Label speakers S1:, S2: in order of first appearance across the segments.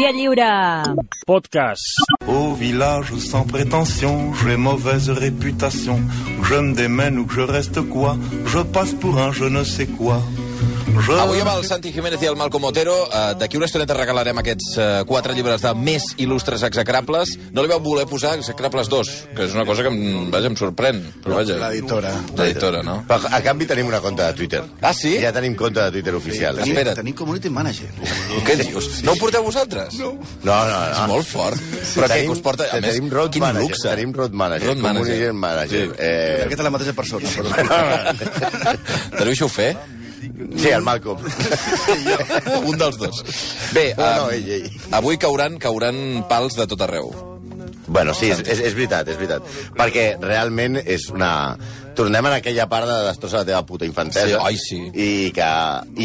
S1: Via lliure!
S2: Podcast.
S3: Au village sans prétention, j'ai mauvaise réputation. Que je me démène ou que je reste quoi, je passe pour un je ne sais quoi. Je...
S2: Ah
S4: Avui
S2: bah,
S4: amb el Santi Jiménez i el Malcom Otero, eh, d'aquí una estoneta regalarem aquests eh, quatre llibres de més il·lustres execrables. No li vau voler posar execrables 2, que és una cosa que em, vaja, em sorprèn. Però vaja,
S5: L'editora.
S4: l'editora, no?
S6: Però a canvi tenim una compte de Twitter.
S4: Ah, sí?
S6: Ja tenim compte de Twitter oficial.
S4: Sí, Espera't.
S5: Tenim community manager.
S4: Què dius? No ho porteu vosaltres? No.
S6: No, no, no.
S4: És molt fort. Però què, que us porta... A més,
S6: tenim road
S4: quin
S6: manager,
S4: luxe.
S6: Tenim road manager.
S4: Road manager.
S6: community manager.
S4: Sí.
S5: Aquesta és la mateixa persona.
S6: Eh,
S5: Però...
S6: no,
S4: Te deixo fer?
S6: no. Sí, el Malcolm.
S4: Un dels dos. Bé,
S6: No, no,
S4: eh,
S6: ell, ell.
S4: avui cauran, cauran pals de tot arreu.
S6: Bueno, sí, és, és, és veritat, és veritat. Perquè realment és una... Tornem en aquella part de destrossa la teva puta infantesa.
S4: Sí, ai, sí.
S6: I, que,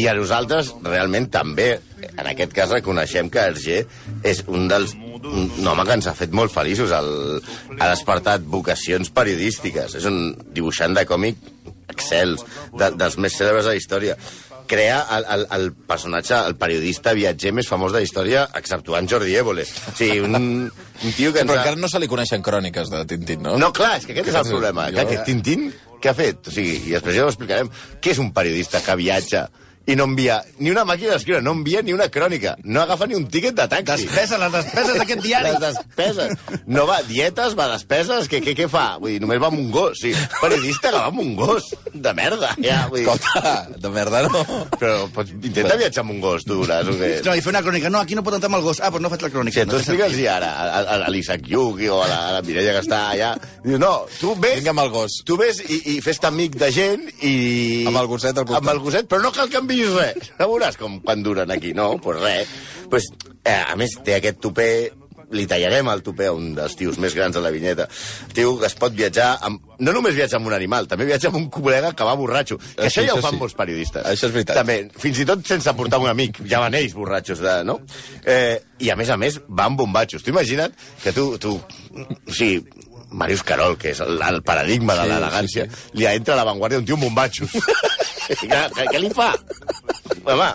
S6: I a nosaltres, realment, també, en aquest cas, reconeixem que Hergé és un dels un un home que ens ha fet molt feliços. El, ha despertat vocacions periodístiques. És un dibuixant de còmic excels, de, dels més cèlebres de la història. Crea el, el, el personatge, el periodista viatger més famós de la història, exceptuant Jordi Évole. O sigui, un, un tio que ens
S4: Però
S6: ha-
S4: encara no se li coneixen cròniques de Tintín, no?
S6: no, clar, és que aquest és el
S4: és-
S6: problema.
S4: jo-
S6: Jo... Que Tintín, què ha fet? O sigui, i després ja ho explicarem. Què és un periodista que viatja i no envia ni una màquina d'escriure, no envia ni una crònica, no agafa ni un tíquet de taxi.
S5: Despesa, les despeses d'aquest diari.
S6: Les despeses. No va a dietes, va a despeses, què, què, què fa? Vull dir, només va amb un gos, sí. Un Periodista que va amb un gos, de merda. Ja, vull dir,
S4: Escolta, de merda no.
S6: però pots, intenta viatjar amb un gos, tu, veuràs, o què?
S5: No, i fer una crònica. No, aquí no pot entrar amb el gos. Ah, però no faig la crònica.
S6: Si tu
S5: No té
S6: expliques-hi ara a, a, a l'Isaac Yuki o a la, a la Mireia que està allà... Diu, no, tu ves...
S4: Vinga amb el gos.
S6: Tu ves i, i fes-te amic de gent i...
S4: Amb el gosset al costat.
S6: Amb el gosset, però no cal que enviïs res. No veuràs com quan duren aquí, no? Doncs pues res. Pues, eh, a més, té aquest tupé li tallarem el tupé a un dels tios més grans de la vinyeta. Tio que es pot viatjar amb... No només viatja amb un animal, també viatja amb un col·lega que va borratxo. Que
S4: Això-
S6: això,
S4: això
S6: ja ho
S4: Ah,
S6: fan
S4: sí.
S6: molts periodistes.
S4: Això és veritat.
S6: També, fins i tot sense portar un amic. Ja van ells borratxos, de, no? Eh, I a més a més, van bombatxos. Tu imagina't que tu... tu o sigui, Marius Carol, que és el, el paradigma de
S4: Sí,
S6: l'elegància,
S4: sí,
S6: li entra a l'avantguàrdia un tio amb bombatxos. què, què li fa? Home,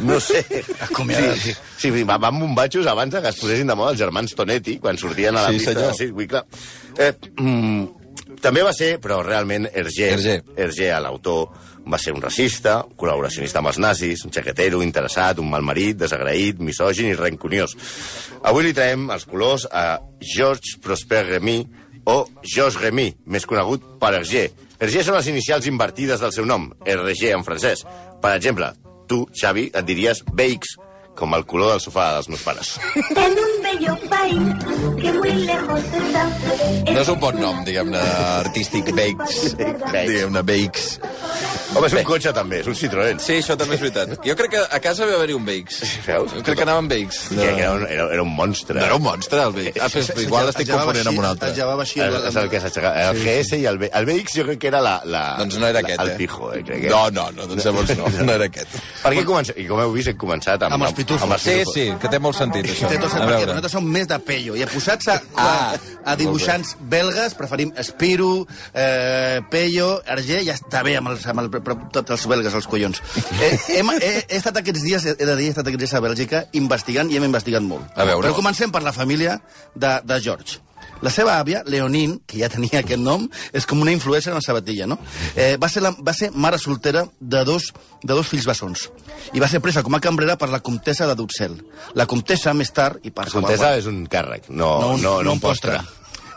S6: no sé.
S5: Acomiadat.
S6: Sí, sí, sí, va- van bombatxos abans de que es posessin de moda els germans Tonetti, quan sortien a la
S4: Sí,
S6: pista.
S4: senyor.
S6: Sí, vull, clar. Eh, mm, també va ser, però realment, Hergé,
S4: Hergé.
S6: Hergé l'autor, va ser un racista, un col·laboracionista amb els nazis, un xaquetero, interessat, un malmarit, desagraït, misògin i rancuniós. Avui li traiem els colors a Georges Prosper Remy o Georges Remy, més conegut per Hergé. Hergé són les inicials invertides del seu nom, RG en francès. Per exemple, tu, Xavi, et diries Bakes, com el color del sofà dels meus pares.
S7: En un bello país que muy lejos está.
S4: No és un bon nom, diguem-ne, artístic, Bakes.
S6: Bakes.
S4: Diguem-ne, Bakes.
S6: Home, és un cotxe també, és un Citroën.
S4: Sí, això també és veritat. Jo crec que a casa va haver-hi un Bakes.
S6: Veus?
S4: Jo crec que anava amb Bakes.
S6: No. Era, un, era, era un monstre.
S4: No era un monstre, el Bakes. Ah, però
S5: sentit.
S4: igual l'estic
S5: Es llevava
S4: confonent amb un
S5: així-
S4: altre.
S5: Es llevava així.
S6: El, és el que s'aixecava. El GS i el, B, el BX jo crec que era la... la
S4: Doncs no era
S6: la-
S4: aquest,
S6: El
S4: eh?
S6: pijo, eh, crec que.
S4: No, no, no, doncs llavors no, no era aquest.
S6: Per què comença? I com heu vist, hem començat amb...
S5: Amb els pitufos.
S6: Amb els
S4: Sí,
S6: pitufos.
S4: sí, que té molt sentit, això.
S5: Té tot
S4: A
S5: el perquè
S4: veure.
S5: nosaltres som més de pello. I posats a, a,
S4: Ah,
S5: a dibuixants belgues, preferim Spiro, eh, Pello, Arger, ja està bé amb, els, amb el, però tots els belgues, els collons. Eh, hem, he, he, estat aquests dies, he de dir, he estat aquests dies a Bèlgica investigant i hem investigat molt.
S4: A veure.
S5: Però comencem per la família de, de George. La seva àvia, Leonin, que ja tenia aquest nom, és com una influència en la sabatilla, no? Eh, va, ser la, va ser mare soltera de dos, de dos fills bessons. I va ser presa com a cambrera per la comtessa de Duxelles. La comtessa, més tard, i per
S6: La comtessa és un càrrec, no, no, no, no un postre.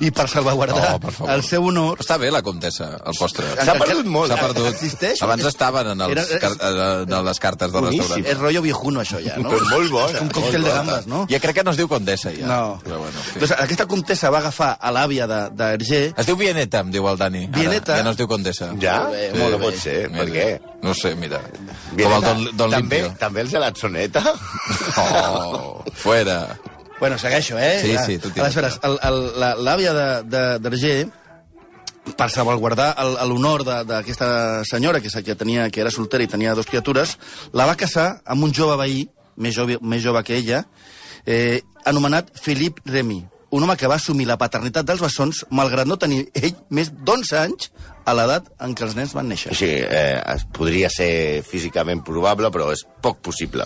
S5: I per salvaguardar
S4: No, per favor.
S5: el seu honor...
S4: Està bé, la comtessa, el postre.
S6: S'ha perdut molt.
S4: S'ha perdut.
S5: Existeix?
S4: Abans estaven en, els,
S5: Era-
S4: car- en les cartes del
S6: Boníssim.
S4: restaurant.
S5: És rotllo viejuno, això, ja, no?
S6: Però és molt bona,
S5: És un
S6: molt
S5: còctel de
S6: bona.
S5: gambes, no?
S4: Ja crec que no es diu condessa, ja.
S5: No.
S4: Però bueno, en fi.
S5: Doncs aquesta comtessa va agafar a l'àvia de- d'Hergé...
S4: Es diu Vieneta, em diu el Dani. Ara,
S5: Vieneta?
S4: Ja no es diu Condessa.
S6: Ja?
S5: Molt bé,
S6: no,
S5: molt
S6: no
S5: bé.
S6: pot ser, per què?
S4: No ho sé, mira. Com
S6: Violeta,
S4: el Don, don
S6: també,
S4: Limpio.
S6: també els de l'atzoneta?
S4: Oh, fuera.
S5: Bueno, segueixo, eh?
S4: Sí, sí, tu tira.
S5: Aleshores, el- el- la- l'àvia de- de- d'Hergé, per salvaguardar el- l'honor de- d'aquesta senyora, que, és la que, tenia, que era soltera i tenia dues criatures, la va casar amb un jove veí, més jove, més jove que ella, eh, anomenat Philippe Remy, un home que va assumir la paternitat dels bessons, malgrat no tenir ell més d'11 anys a l'edat en què els nens van néixer.
S6: Sí, eh, es podria ser físicament probable, però és poc possible.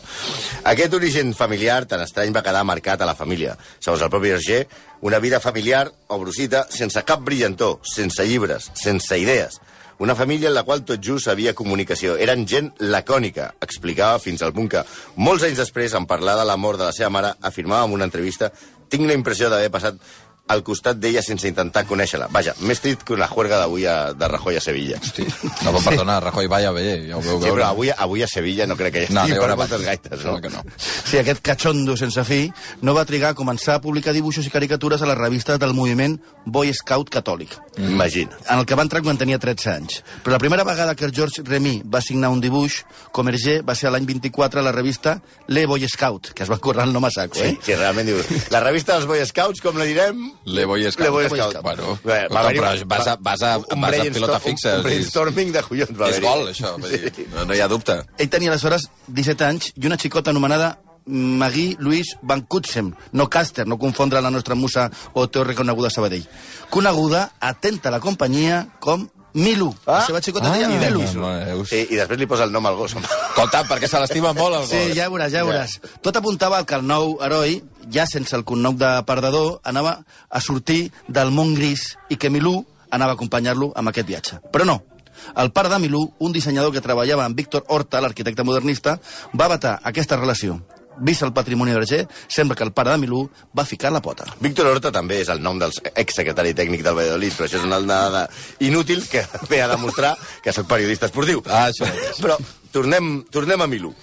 S6: Aquest origen familiar tan estrany va quedar marcat a la família. Segons el propi Hergé, una vida familiar o brusita sense cap brillantor, sense llibres, sense idees. Una família en la qual tot just havia comunicació. Eren gent lacònica, explicava fins al punt que, molts anys després, en parlar de la mort de la seva mare, afirmava en una entrevista «Tinc la impressió d'haver passat al costat d'ella sense intentar conèixer-la. Vaja, més trit que una juerga d'avui a, de Rajoy a Sevilla.
S4: Hosti, no, però perdona, Rajoy, vaya, bé, ja ho veu
S6: Sí,
S4: veure.
S6: però avui, avui a Sevilla no crec que hi
S4: No,
S6: estigui
S4: deu
S6: per
S4: hores
S6: moltes
S4: abans.
S6: gaites, no?
S4: Sembla que no.
S5: Sí, aquest catxondo sense fi no va trigar a començar a publicar dibuixos i caricatures a les revistes del moviment Boy Scout Catòlic,
S6: Imagina.
S5: en el que va entrar quan tenia 13 anys. Però la primera vegada que el George Remy va signar un dibuix, com Hergé va ser a l'any 24 a la revista Le Boy Scout, que es va currar el nom a saco,
S6: Sí,
S5: eh?
S6: sí, realment dius. La revista dels Boy Scouts, com la direm?
S4: Le Boy Scout.
S6: Le Boy
S5: Boy
S6: Scout.
S5: Scout.
S4: Bueno,
S6: Bé,
S4: escolta,
S6: haver-hi
S4: però vas a- vas a-
S6: un
S4: vas a
S6: brainstorm-
S4: pilota fixa,
S6: Un brainstorming de collons, va
S4: És
S6: haver-hi.
S4: gol, això, vull dir, no, no hi ha dubte.
S5: Ell tenia aleshores 17 anys i una xicota anomenada Magui Luis Van Kutsem, no Caster, no confondre la nostra musa o teu reconeguda a Sabadell. Coneguda, atenta a la companyia, com Milu.
S6: Ah.
S5: la seva xicota deia Milu.
S6: I, I després li posa el nom al gos. home.
S4: Escolta, perquè se l'estima molt, el
S5: Sí,
S4: gos.
S5: ja ho veuràs, ja ho veuràs. Tot apuntava al que el nou heroi, ja sense el cognom de perdedor, anava a sortir del món gris i que Milú anava a acompanyar-lo amb aquest viatge. Però no. El pare de Milú, un dissenyador que treballava amb Víctor Horta, l'arquitecte modernista, va vetar aquesta relació. Vist el patrimoni d'Arger, sembla que el pare de Milú va ficar la pota.
S6: Víctor Horta també és el nom del exsecretari tècnic del Valladolid, però això és una dada inútil que ve a demostrar que és el periodista esportiu.
S4: Ah, això mateix.
S6: Però tornem, tornem a Milú.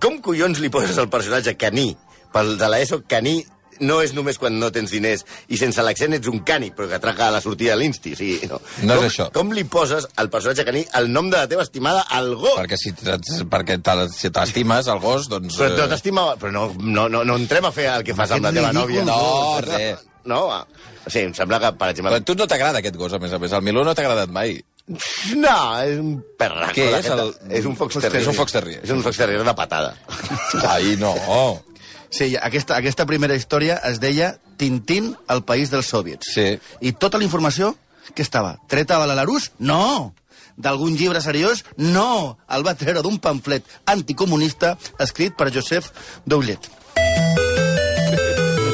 S6: Com collons li poses el personatge caní? Pel de l'ESO, caní no és només quan no tens diners i sense l'accent ets un cani, però que atraca a la sortida de l'insti. Sí, no.
S4: No és
S6: com,
S4: això.
S6: Com li poses al personatge caní el nom de la teva estimada al gos?
S4: Perquè si t'es- perquè te- si t'estimes el gos, doncs...
S6: Però no
S4: eh,
S6: t'estima... Però no, no, no, no entrem a fer el que fas amb la
S5: Aquest
S6: teva
S5: ridícul
S6: nòvia.
S4: No, res.
S6: No, va. Sí, em sembla que, per exemple...
S4: Però a tu no t'agrada aquest gos, a més a més. El Miló no t'ha agradat mai.
S6: No, és un perraco.
S4: Què
S6: la
S4: és,
S6: neta.
S4: el-
S6: És un fox
S4: Hòstia,
S6: terrier.
S4: és un fox terrier.
S6: És un fox terrier de patada.
S4: Ai, no.
S5: Sí, aquesta, aquesta primera història es deia Tintín al país dels soviets.
S4: Sí.
S5: I tota la informació que estava treta de l'Alarús? No! D'algun llibre seriós? No! El va treure d'un pamflet anticomunista escrit per Josep Doulet.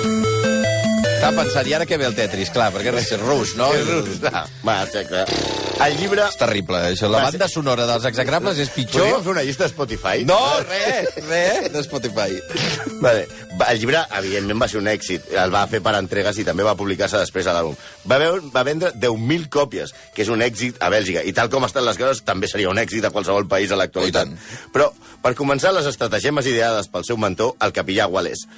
S4: Estava pensant, i ara què ve el Tetris? Clar, perquè és rus, no?
S6: és rus. Ah, va, sí, clar. El llibre...
S4: És terrible, això. La
S6: Va,
S4: banda sonora dels execrables és
S6: Podríem
S4: pitjor...
S6: fer una llista a Spotify?
S4: No, res, res, de Spotify.
S6: Vale. Va, El llibre, evidentment, va ser un èxit. El va fer per entregues i també va publicar-se després a l'àlbum. Va, veu- va vendre 10.000 còpies, que és un èxit a Bèlgica. I tal com estan les coses, també seria un èxit a qualsevol país a l'actualitat.
S4: I tant.
S6: Però, per començar, les estratagemes ideades pel seu mentor, el capellà Wallace.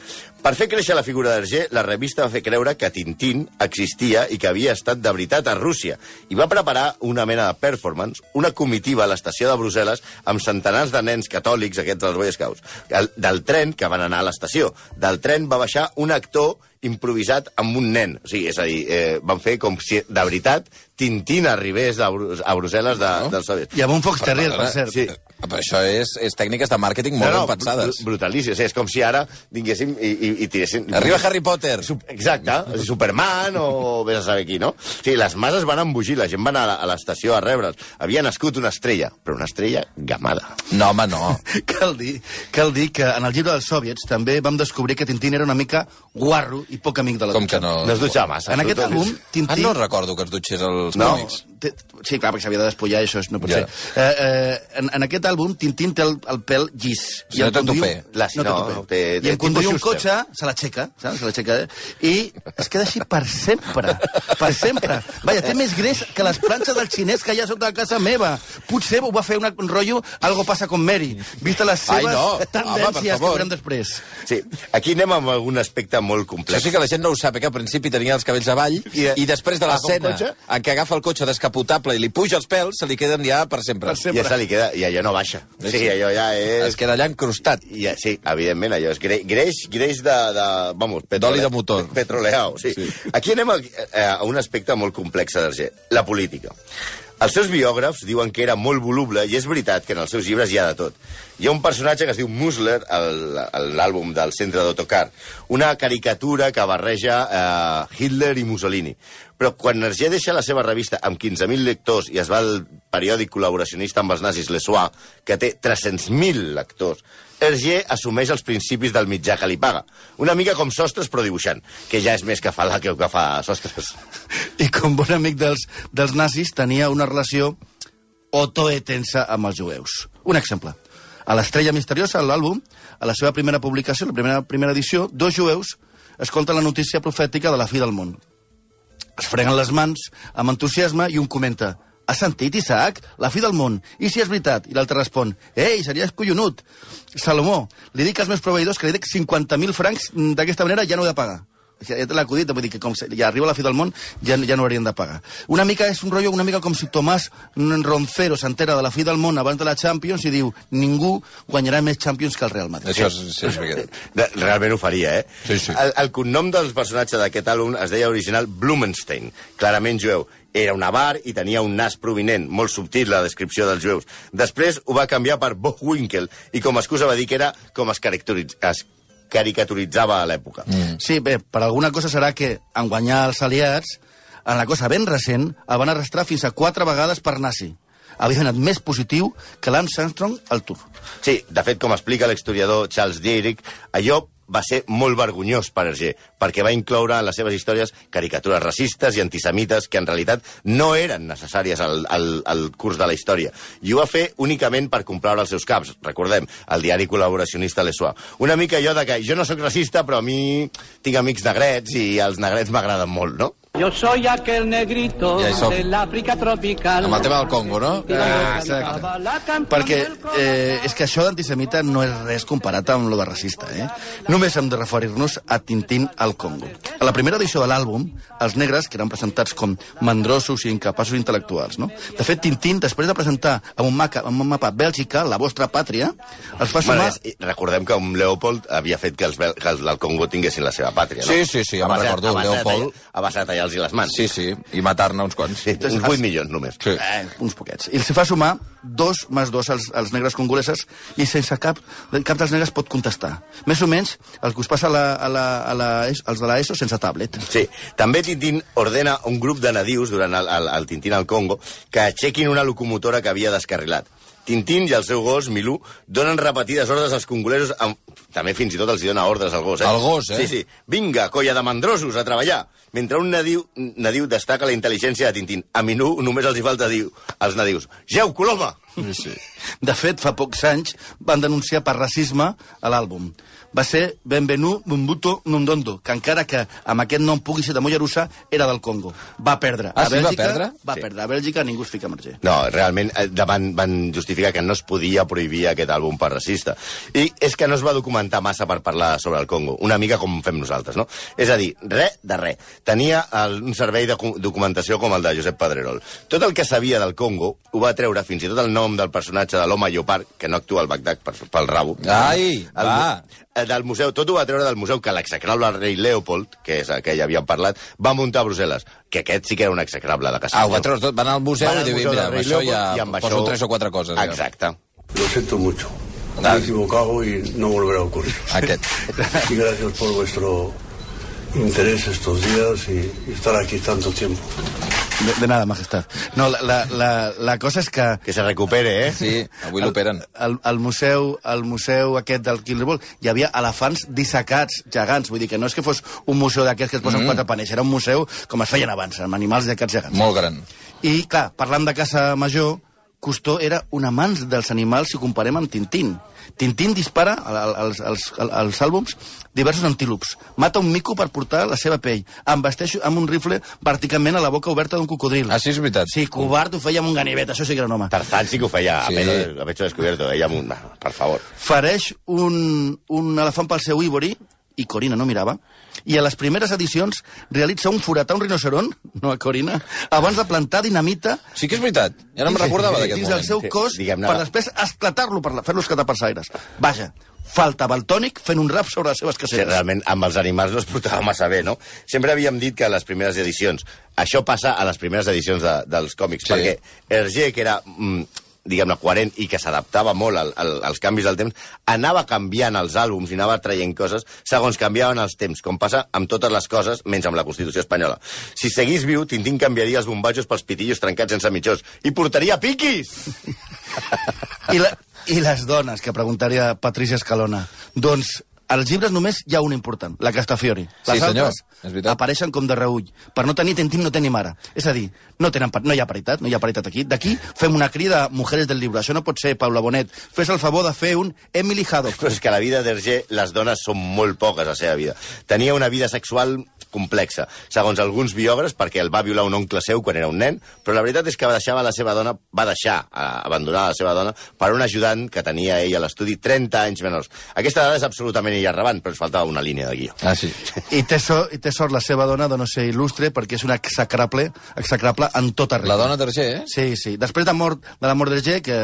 S6: Per fer créixer la figura d'Hergé, la revista va fer creure que Tintín existia i que havia estat de veritat a Rússia i va preparar una mena de performance, una comitiva a l'estació de Brussel·les amb centenars de nens catòlics, aquests dels Boy Scouts, el, del tren que van anar a l'estació. Del tren va baixar un actor improvisat amb un nen. O sigui, és a dir, eh, van fer com si, de veritat, Tintín arribés a, Bru a Brussel·les de, no? dels soviets.
S5: I amb un Fox Terrier, per cert.
S4: Sí. Però això és, és tècniques de màrqueting molt ben pensades.
S6: br- Brutalíssim. O sigui, és com si ara vinguéssim i, i, i tiréssim...
S4: Arriba Harry Potter.
S6: Sup- Exacte, Superman o vés a saber qui, no? Sí, les masses van embogir, la gent va anar a la- a l'estació a rebre'ls. Havia nascut una estrella, però una estrella gamada.
S4: No, home, no.
S5: Cal dir, cal dir que en el llibre dels soviets també vam descobrir que Tintín era una mica guarro i poc amic de la
S4: Com
S5: dutxa.
S4: que no?
S6: No es dutxava massa.
S5: En aquest
S6: tu,
S5: àlbum,
S6: Toni.
S4: Ah,
S5: Tintín...
S4: no recordo que es dutxés els
S6: No.
S4: còmics.
S5: Té- Sí, clar, perquè s'havia de despullar, això és- no pot
S4: Ja.
S5: ser. Eh, eh, en, en aquest àlbum, Tintín té el, el pèl llis.
S4: Si no té
S5: en conduir
S4: tupé.
S5: un-
S6: La-
S5: no té
S6: no,
S5: tupé.
S6: té- té
S5: I en conduir
S6: tipus
S5: un cotxe,
S6: Schuster.
S5: se l'aixeca, saps? Se l'aixeca, eh? I es queda així per sempre. Per sempre. Vaja, té més greix que les planxes del xinès que hi ha sota la casa meva. Potser ho va fer una, un rotllo Algo passa con Mary, vista les
S4: Ai,
S5: seves
S4: no. Home, per
S5: tendències que
S4: favor.
S5: veurem després.
S6: Sí, aquí anem amb algun aspecte molt
S4: Això
S6: complex.
S4: sí que la gent no ho sap, eh, que al principi tenia els cabells avall i,
S6: I-
S4: i després de
S6: agafa un
S4: l'escena
S6: cotxe?
S4: en què agafa el cotxe descapotable i li puja els pèls, se li queden ja per sempre.
S5: Per sempre.
S6: Ja se li queda, i allò no baixa.
S4: Sí,
S6: Sí,
S4: sí.
S6: allò ja
S4: Es
S6: és...
S4: queda allà encrustat.
S6: I, eh, sí, evidentment, allò és gre- greix, greix de... de vamos, petrole-
S4: D'oli de motor.
S6: Petroleau, sí. sí. Aquí anem a, eh, a un aspecte molt complex d'Hergé, la política. Els seus biògrafs diuen que era molt voluble i és veritat que en els seus llibres hi ha de tot. Hi ha un personatge que es diu Musler, al- a l'àlbum del centre d'Autocar, una caricatura que barreja eh, Hitler i Mussolini. Però quan Hergé deixa la seva revista amb 15.000 lectors i es va al periòdic col·laboracionista amb els nazis, Le Soir, que té 300.000 lectors, Hergé assumeix els principis del mitjà que li paga. Una mica com Sostres, però dibuixant, que ja és més que fa la que el que fa Sostres.
S5: I com bon amic dels, dels nazis, tenia una relació o toe tensa amb els jueus. Un exemple. A l'Estrella Misteriosa, a l'àlbum, a la seva primera publicació, la primera, primera edició, dos jueus escolten la notícia profètica de la fi del món. Es freguen les mans amb entusiasme i un comenta Has sentit, Isaac? La fi del món. I si és veritat? I l'altre respon Ei, series collonut. Salomó, li dic als meus proveïdors que li dec 50.000 francs mm, d'aquesta manera ja no he de pagar. Ja ja te l'ha acudit, vull dir que com se- ja arriba la fi del món ja, ja no haurien de pagar. Una mica és un rotllo, una mica com si Tomàs Roncero s'entera de la fi del món abans de la Champions i diu ningú guanyarà més Champions que el Real Madrid.
S4: Això és, sí, és veritat.
S6: De, realment ho faria, eh?
S4: Sí, sí.
S6: El, el cognom dels personatges d'aquest àlbum es deia original Blumenstein, clarament jueu. Era un avar i tenia un nas provinent, molt subtil la descripció dels jueus. Després ho va canviar per Bochwinkel i com a excusa va dir que era com es, caricaturitz- es caricaturitzava a l'època. Mm.
S5: Sí, bé, per alguna cosa serà que, en guanyar els aliats, en la cosa ben recent, el van arrastrar fins a quatre vegades per nazi. Havia anat més positiu que Lance Armstrong al Tour.
S6: Sí, de fet, com explica l'historiador Charles Dierick, allò va ser molt vergonyós per Hergé, perquè va incloure en les seves històries caricatures racistes i antisemites que en realitat no eren necessàries al, al, al curs de la història. I ho va fer únicament per complaure els seus caps, recordem, el diari col·laboracionista Le Soir. Una mica allò de que jo no sóc racista, però a mi tinc amics negrets i els negrets m'agraden molt, no?
S1: Yo soy aquel negrito
S4: Ja hi som.
S1: del África tropical.
S4: Amb el tema del Congo, no?
S1: Ah,
S5: exacte. Perquè eh, és que això d'antisemita no és res comparat amb lo de racista, eh? Només hem de referir-nos a Tintín al Congo. A la primera edició de l'àlbum, els negres, que eren presentats com mandrosos i incapaços intel·lectuals, no? De fet, Tintín, després de presentar amb un, maca, amb un mapa Bèlgica, la vostra pàtria, els va
S6: Bueno,
S5: sumar...
S6: és, recordem que un Leopold havia fet que els, bel- que els del Congo tinguessin la seva pàtria, no?
S4: Sí, sí, sí, ja me'n
S6: Abasat-
S4: recordo, el
S6: abasat a-
S4: Leopold.
S6: Abasat a tallar-los les mans.
S4: Sí, sí, i matar-ne uns quants.
S6: Sí, uns 8 milions només.
S4: Sí.
S5: Eh, uns poquets. I els fa sumar dos més dos als, als negres congoleses i sense cap, cap dels negres pot contestar. Més o menys el que us passa a la, a la, a la, E als de l'ESO sense tablet.
S6: Sí. També Tintín ordena a un grup de nadius durant el, el, el Tintín al Congo que aixequin una locomotora que havia descarrilat. Tintín i el seu gos, Milú, donen repetides ordres als congolesos, amb... també fins i tot els hi dona ordres al gos, eh?
S4: Al gos, eh?
S6: Sí, sí. Vinga, colla de mandrosos, a treballar! Mentre un nadiu, nadiu destaca la intel·ligència de Tintín. A Minú només els hi falta dir als nadius. Geu, Coloma!
S4: Sí, sí.
S5: De fet, fa pocs anys van denunciar per racisme a l'àlbum. Va ser Benvenu Mumbuto Nundondo, que encara que amb aquest nom pugui ser de Molla Russa, era del Congo. Va perdre.
S4: Ah,
S5: a
S4: sí, va
S5: Bèlgica,
S4: perdre?
S5: Va
S6: Sí.
S5: perdre. A Bèlgica ningú es fica marger.
S6: No, realment eh, de- van, van justificar que no es podia prohibir aquest àlbum per racista. I és que no es va documentar massa per parlar sobre el Congo, una mica com fem nosaltres, no? És a dir, res de res. Tenia el, un servei de cu- documentació com el de Josep Pedrerol. Tot el que sabia del Congo ho va treure fins i tot el nom del personatge de l'home Llopard, que no actua al Bagdad per, pel rabo.
S4: Ai,
S6: el,
S4: va.
S6: eh, Del museu, tot ho va treure del museu que l'execrable rei Leopold, que és el que ja havíem parlat, va muntar a Brussel·les, que aquest sí que era un execrable de
S4: Ah,
S6: casa.
S4: ho va treure tot, va anar al museu
S6: Van al
S4: i diu,
S6: Museu
S4: mira,
S6: del
S4: amb
S6: Rei
S4: això ja
S6: Leopold i amb
S4: poso tres o quatre coses. ja.
S6: Exacto.
S2: Lo siento mucho.
S3: Ah
S2: Me
S4: Dale.
S2: he equivocado y no volverá a ocurrir.
S4: Aquest.
S2: Y gracias por vuestro interés estos días y y estar aquí tanto tiempo.
S5: De, de nada, majestat. No, la, la, la, la cosa és que...
S6: Que se recupere, eh?
S4: Sí, avui l'operen.
S5: Al, al, museu, al museu aquest del Kilderbol hi havia elefants dissecats, gegants. Vull dir que no és que fos un museu d'aquests que es posen mm. quatre paners, era un museu com es feien abans, amb animals d'aquests gegants.
S4: Molt gran.
S5: I, clar, parlant de Casa Major, Cousteau era un amant dels animals si ho comparem amb Tintín. Tintín dispara al- al- als, als, als, als àlbums diversos antílops. Mata un mico per portar la seva pell. Envesteix amb un rifle verticalment a la boca oberta d'un cocodril.
S4: Ah, sí, és veritat.
S5: Sí, covard ho feia amb un ganivet, això sí que era un home.
S6: Tarzán sí que ho feia,
S4: Sí.
S6: a pecho, a pecho descubierto, ella amb un... Per favor.
S5: Fareix un, un elefant pel seu íbori, i Corina no mirava, i a les primeres edicions realitza un forat a un rinoceron, no a Corina, abans de plantar dinamita
S4: Sí que és veritat. Ja no em recordava d'aquest
S5: dins
S4: moment.
S5: del seu cos
S6: Sí, diguem-ne.
S5: per després esclatar-lo, per la- fer-lo esclatar per l'aire. Vaja, falta Baltònic fent un rap sobre les seves
S6: Sí,
S5: caceres.
S6: realment, amb els animals no es portava massa bé, no? Sempre havíem dit que a les primeres edicions... Això passa a les primeres edicions de, dels còmics,
S4: Sí.
S6: perquè Hergé, que era mm, diguem-ne, coherent i que s'adaptava molt al, al, als canvis del temps, anava canviant els àlbums i anava traient coses segons canviaven els temps, com passa amb totes les coses, menys amb la Constitució espanyola. Si seguís viu, Tintín canviaria els bombajos pels pitillos trencats sense mitjors i portaria piquis!
S5: I, la, I les dones, que preguntaria Patricia Escalona. Doncs als llibres només hi ha una important, la Castafiori. Les
S4: Sí, senyor,
S5: altres
S4: és veritat.
S5: apareixen com de reull. Per no tenir tentim no tenim ara. És a dir, no, tenen, par- no hi ha paritat, no hi ha paritat aquí. D'aquí fem una crida a Mujeres del Llibre. Això no pot ser, Paula Bonet. Fes el favor de fer un Emily Haddock.
S6: Però és que a la vida d'Hergé les dones són molt poques a la seva vida. Tenia una vida sexual complexa, segons alguns biògrafs, perquè el va violar un oncle seu quan era un nen, però la veritat és que va deixar la seva dona, va deixar eh, abandonar la seva dona per un ajudant que tenia ell a l'estudi 30 anys menors. Aquesta dada és absolutament irrelevant, però ens faltava una línia de guió.
S4: Ah, sí.
S5: I té, so, I té sort la seva dona de no ser il·lustre perquè és una execrable, execrable en tota regla.
S4: La dona tercer, eh?
S5: Sí, sí. Després de, mort, de la mort d'Hergé, que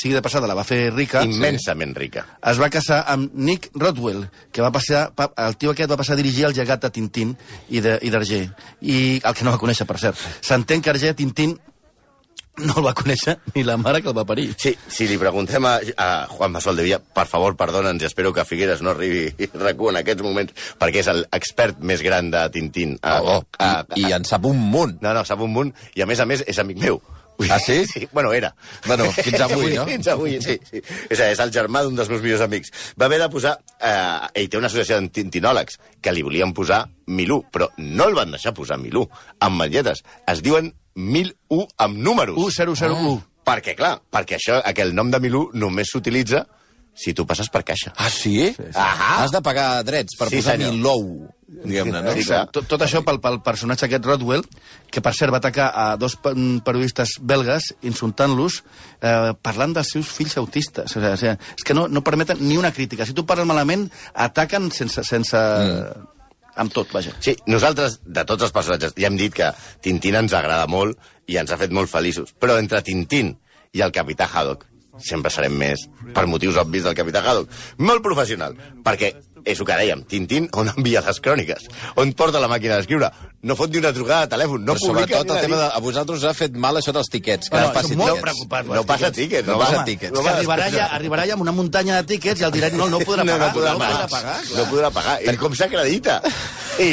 S5: sigui de passada la va fer
S4: Ah,
S5: rica...
S6: Immensament rica.
S5: es va casar amb Nick Rodwell, que va passar, pa- el tio aquest va passar a dirigir el llegat de Tintín i de- i d'Hergé, i, el que no va conèixer, per cert. S'entén que Hergé Tintín no el va conèixer ni la mare que el va parir.
S6: Sí, si li preguntem a, a Juan Masol de Villa, per favor, perdona'ns, espero que Figueres no arribi rac en aquests moments, perquè és l'expert més gran de Tintín. Ah, A,
S4: Oh,
S6: a,
S4: i, I en sap un munt.
S6: No, no, sap un munt, i a més a més és amic meu.
S4: Ah, sí?
S6: sí bueno, era.
S4: Bueno, fins avui, no?
S6: Fins avui, sí. sí. És, és el germà d'un dels meus millors amics. Va haver de posar... Eh, ell té una associació de tintinòlegs que li volien posar Milú, però no el van deixar posar Milú, amb manlletes. Es diuen 1001 amb números. Ah.
S5: 1001.
S6: Perquè, clar, perquè això, aquell nom de Milú només s'utilitza si tu passes per caixa.
S4: Ah, sí? sí, sí.
S6: Ahà.
S4: Has de pagar drets per
S6: Sí,
S4: posar
S6: senyor.
S4: ni l'ou, diguem-ne, no?
S6: Sí, clar.
S5: Tot, tot això pel, pel personatge aquest Rodwell, que per cert va atacar a dos pe- mm, periodistes belgues insultant-los eh, parlant dels seus fills autistes. O sigui, o sigui, és que no, no permeten ni una crítica. Si tu parles malament, ataquen sense... sense mm. amb tot, vaja.
S6: Sí, nosaltres, de tots els personatges, ja hem dit que Tintín ens agrada molt i ens ha fet molt feliços, però entre Tintín i el Capità Haddock sempre serem més, per motius obvis del Capità Haddock, molt professional, perquè és el que dèiem, Tintín on envia les cròniques, on porta la màquina d'escriure, no fot ni una trucada de telèfon, no
S4: Però
S6: publica
S4: sobretot
S6: ni
S4: el
S6: una
S4: tema de...
S6: nit.
S4: A vosaltres us ha fet mal això dels tiquets. Que
S5: No,
S4: no,
S5: no,
S4: passi
S5: som molt
S4: tiquets.
S5: preocupats.
S6: No passa tiquets, no,
S4: No passa
S6: va-
S4: tiquets.
S6: No
S5: És que
S6: va-
S5: arribarà ja, arribarà ja amb una muntanya de tiquets i el dirà no, no podrà
S6: no,
S5: pagar.
S6: no podrà
S5: podrà
S6: pagar.
S5: pagar.
S6: No podrà pagar. I com s'acredita? I...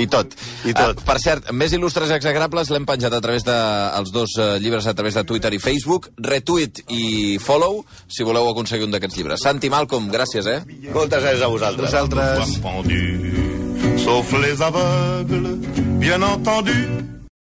S4: I tot.
S6: I tot.
S4: Ah, per cert, més il·lustres exagrables l'hem penjat a través de, els dos eh, llibres a través de Twitter i Facebook. Retweet i follow si voleu aconseguir un d'aquests llibres. Santi Malcolm, gràcies, eh?
S6: Moltes gràcies a vosaltres.
S5: Vosaltres...
S3: Pendu, sauf les aveugles, bien entendu.